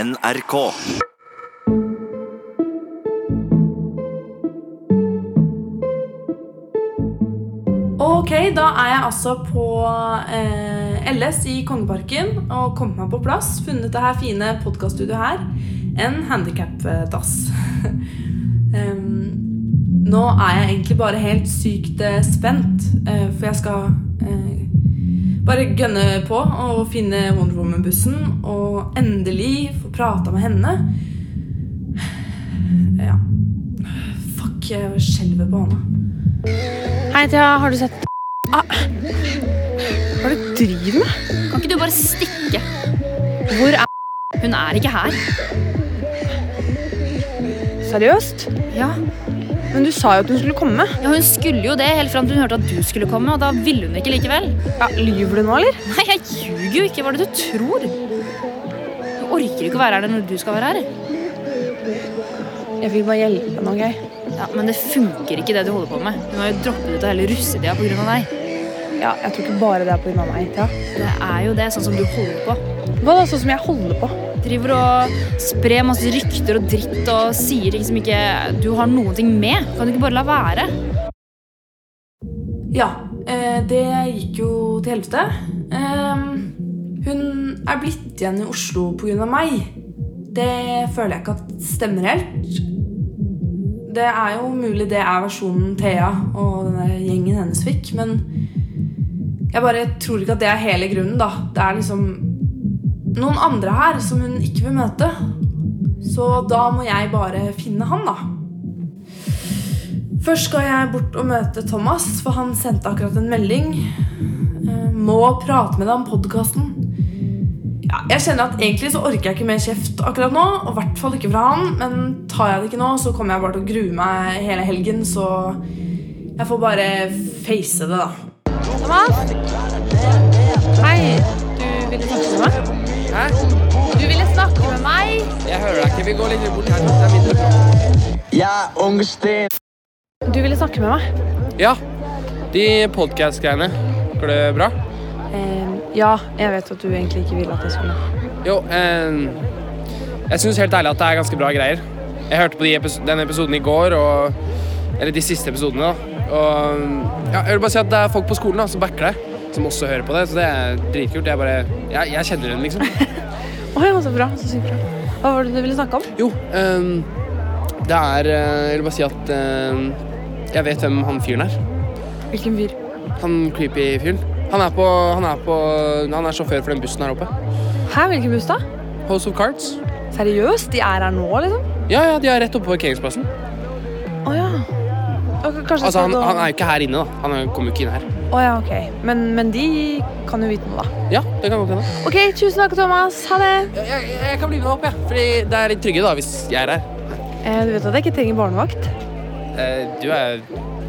NRK. Ok, da er jeg altså på eh, LS i Kongeparken og kommet meg på plass. Funnet det her fine podkaststudioet her. En handikap-dass. Em, nå er jeg egentlig bare helt sykt eh, spent, eh, for jeg skal eh, bare gønne på og finne Wonder Woman-bussen og endelig få prata med henne. Ja. Fuck, jeg skjelver på hånda. Hei, Thea. Har du sett ah. Hva er det du driver med? Kan ikke du bare stikke? Hvor er Hun er ikke her. Seriøst? Ja. Men du sa jo at hun skulle komme. ja, Hun skulle jo det helt fram til hun hørte at du skulle komme, og da ville hun ikke likevel. Ja, Lyver du nå, eller? Nei, jeg ljuger jo ikke. Hva er det du tror? Du orker ikke å være her når du skal være her. Jeg vil bare hjelpe deg nå, Geir. Ja, Men det funker ikke, det du holder på med. Hun har jo droppet ut av hele russetida pga. deg. Ja, jeg tror ikke bare det er pga. meg. Thea. Det er jo det, sånn som du holder på. Hva da, sånn som jeg holder på? Driver og sprer masse rykter og dritt og sier ting som ikke du har noen ting med. Kan du ikke bare la være? Ja, eh, det gikk jo til helvete. Eh, hun er blitt igjen i Oslo pga. meg. Det føler jeg ikke at stemmer helt. Det er jo mulig det er versjonen Thea og denne gjengen hennes fikk, men jeg bare tror ikke at det er hele grunnen, da. Det er liksom noen andre her som hun ikke vil møte. Så da må jeg bare finne han, da. Først skal jeg bort og møte Thomas, for han sendte akkurat en melding. Eh, Må prate med deg om podkasten. Ja, jeg kjenner at Egentlig så orker jeg ikke mer kjeft akkurat nå, og i hvert fall ikke fra han. Men tar jeg det ikke nå, så kommer jeg bare til å grue meg hele helgen, så jeg får bare face det, da. Thomas? Hei. Du ville snakke med meg? Hæ? Du ville snakke med meg? Jeg hører deg ikke. Vi går litt bort her. Det er mindre bra. Jeg er ung Sten. Du ville snakke med meg? Ja, de podcast-greiene. Går det bra? Eh, ja, jeg vet at du egentlig ikke ville at jeg skulle. Jo, eh, jeg synes helt ærlig at det er ganske bra greier. Jeg hørte på de epis denne episoden i går, og, eller de siste episodene, da. Og, ja, jeg vil bare si at det er folk på skolen da, som backer deg, som også hører på det, så det er dritkult. Jeg bare, jeg, jeg kjenner den, liksom. Å ja, så bra. Så sykt bra. Hva var det du ville snakke om? Jo, ehm, det er, eh, jeg vil bare si at ehm, jeg vet hvem han fyren er. Hvilken fyr? Han creepy fyren. Han er på Han er på Han er sjåfør for den bussen her oppe. Hæ, hvilken buss da? House of Cards. Seriøst? De er her nå, liksom? Ja, ja, de er rett oppe på parkeringsplassen. Å ja. Ok, Kanskje Altså, skal han, du- han er jo ikke her inne, da. Han er- kommer jo ikke inn her. Å ja, ok. Men, men de kan jo vite noe, da. Ja, det kan godt hende. Ok, tusen takk, Thomas. Ha det. Jeg, jeg, jeg kan bli med opp, jeg. Fordi det er litt tryggere da, hvis jeg er her. Eh, du vet at jeg ikke trenger barnevakt? Eh, du er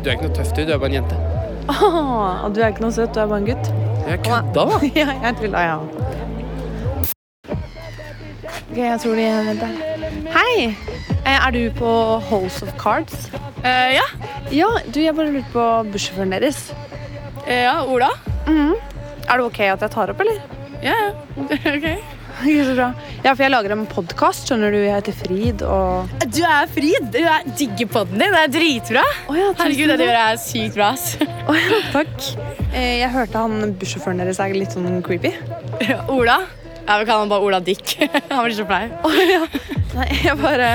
Du er ikke noe tøff, du. Du er bare en jente. Åh, og du er ikke noe søt, du er bare en gutt. Jeg kødda, da. ja, jeg tulla, ja. Ok, jeg tror de venter her. Hei! Eh, Er du på Holes of Cards? Eh, ja. Ja, du, jeg bare lurte på bussjåføren deres. ja, Ola? Mhm. Er det ok at jeg tar opp, eller? Ja, ja. ok. Ikke så bra. Ja, for jeg lager en podkast, skjønner du. Jeg heter Frid og Du er Frid. Du er digger podden din. Det er dritbra. Å ja, Herregud, det du gjør er sykt bra. ass. Å ja, takk. Eh, Jeg hørte han bussjåføren deres er litt sånn creepy. Ola? Ja, Vi kaller han bare Ola Dick. Han blir så flau. Nei, jeg bare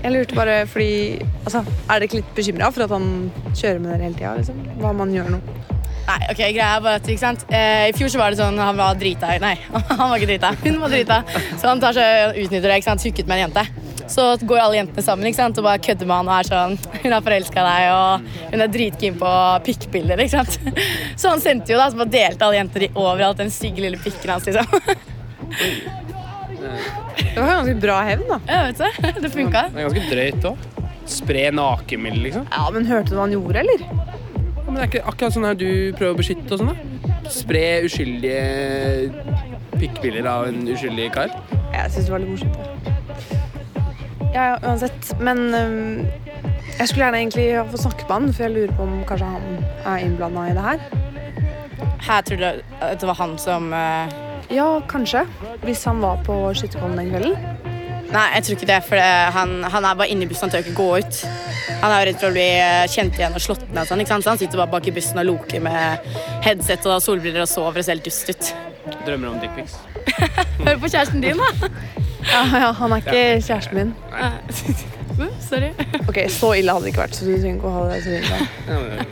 Jeg lurte bare fordi Altså, er dere ikke litt bekymra for at han kjører med dere hele tida? Liksom? Hva om han gjør nå? Nei, ok, greia er bare at, ikke sant? Eh, I fjor så var det sånn, han var drita. Nei, han var ikke drita. Hun var drita. Så han tar seg, utnytter det, ikke sant? hooket med en jente. Så går alle jentene sammen ikke sant? og bare kødder med han og er sånn Hun har forelska deg, og hun er dritkeen på pikkbilder, ikke sant. Så han sendte jo da, så bare delte alle jenter i overalt den stygge lille pikken hans, liksom. Det var ganske bra hevn, da. Ja, vet du. Det funka. Det er ganske drøyt òg. Spre nakenbilder, liksom. Ja, Men hørte du hva han gjorde, eller? Ja, Men det er ikke akkurat sånn her du prøver å beskytte og sånn, da? Spre uskyldige pikkbilder av en uskyldig kar? Jeg syns det var litt morsomt. Ja, ja, ja uansett. Men øhm, jeg skulle gjerne egentlig få snakke med han, for jeg lurer på om kanskje han er innblanda i det her. Her tror du at det var han som eh, Ja, kanskje. Hvis han var på skytterkollen den kvelden. Nei, jeg tror ikke det, for det, han, han er bare inne i bussen. Han tør ikke gå ut. Han er jo redd for å bli eh, kjent igjen og slått ned. og Sånn, ikke sant? Så han sitter bare bak i bussen og loker med headset og solbriller og sover og ser helt dust ut. Drømmer om dickpics. Hør på kjæresten din, da. Ja, ja, han er ikke kjæresten min. Uh, Sorry. Ok, Så ille hadde det ikke vært, så du trenger ikke å ha det så ille.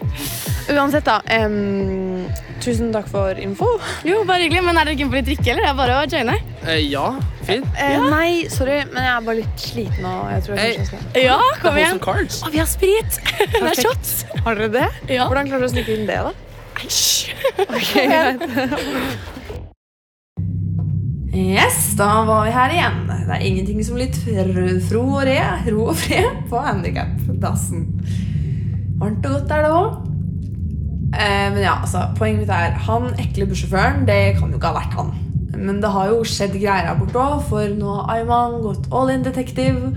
Uansett, da. em, tusen takk for info. Jo, bare hyggelig. Men er dere keen på litt drikke, eller? Det er bare å joine. Eh, ja, fint. Eh, Nei, sorry, men jeg er bare litt sliten nå. Jeg tror jeg Hey. kanskje jeg skal. Ja, Hold kom igjen. some cards. Å, vi har sprit! Det er shots. Har dere det? Ja. Hvordan klarer du å snike inn det, da? Æsj. Yes, da var vi her igjen. Det er ingenting som litt fr- fro og re, ro og fred på handikapdassen. Varmt og godt er det òg. Eh, men ja, altså, poenget mitt er han ekle bussjåføren, det kan jo ikke ha vært han. Men det har jo skjedd greier her borte òg, for nå har Ayman gått all in detective.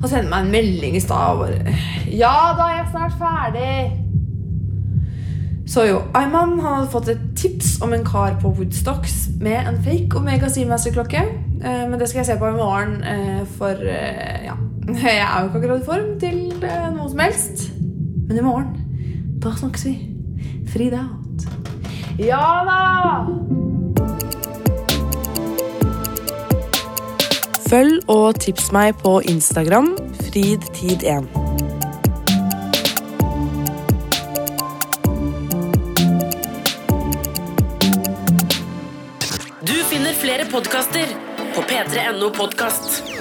Han sendte meg en melding i stad og bare Ja da, jeg er snart ferdig. Så jo, Ayman han hadde fått et tips om en kar på Woodstocks med en fake Omega Seamaster-klokke. Eh, men det skal jeg se på i morgen, eh, for eh, ja Jeg er jo ikke akkurat i form til eh, noe som helst. Men i morgen, da snakkes vi. Frid out. Ja da! Følg og tips meg på Instagram fridtid1. Du finner flere podkaster på p3.no podkast.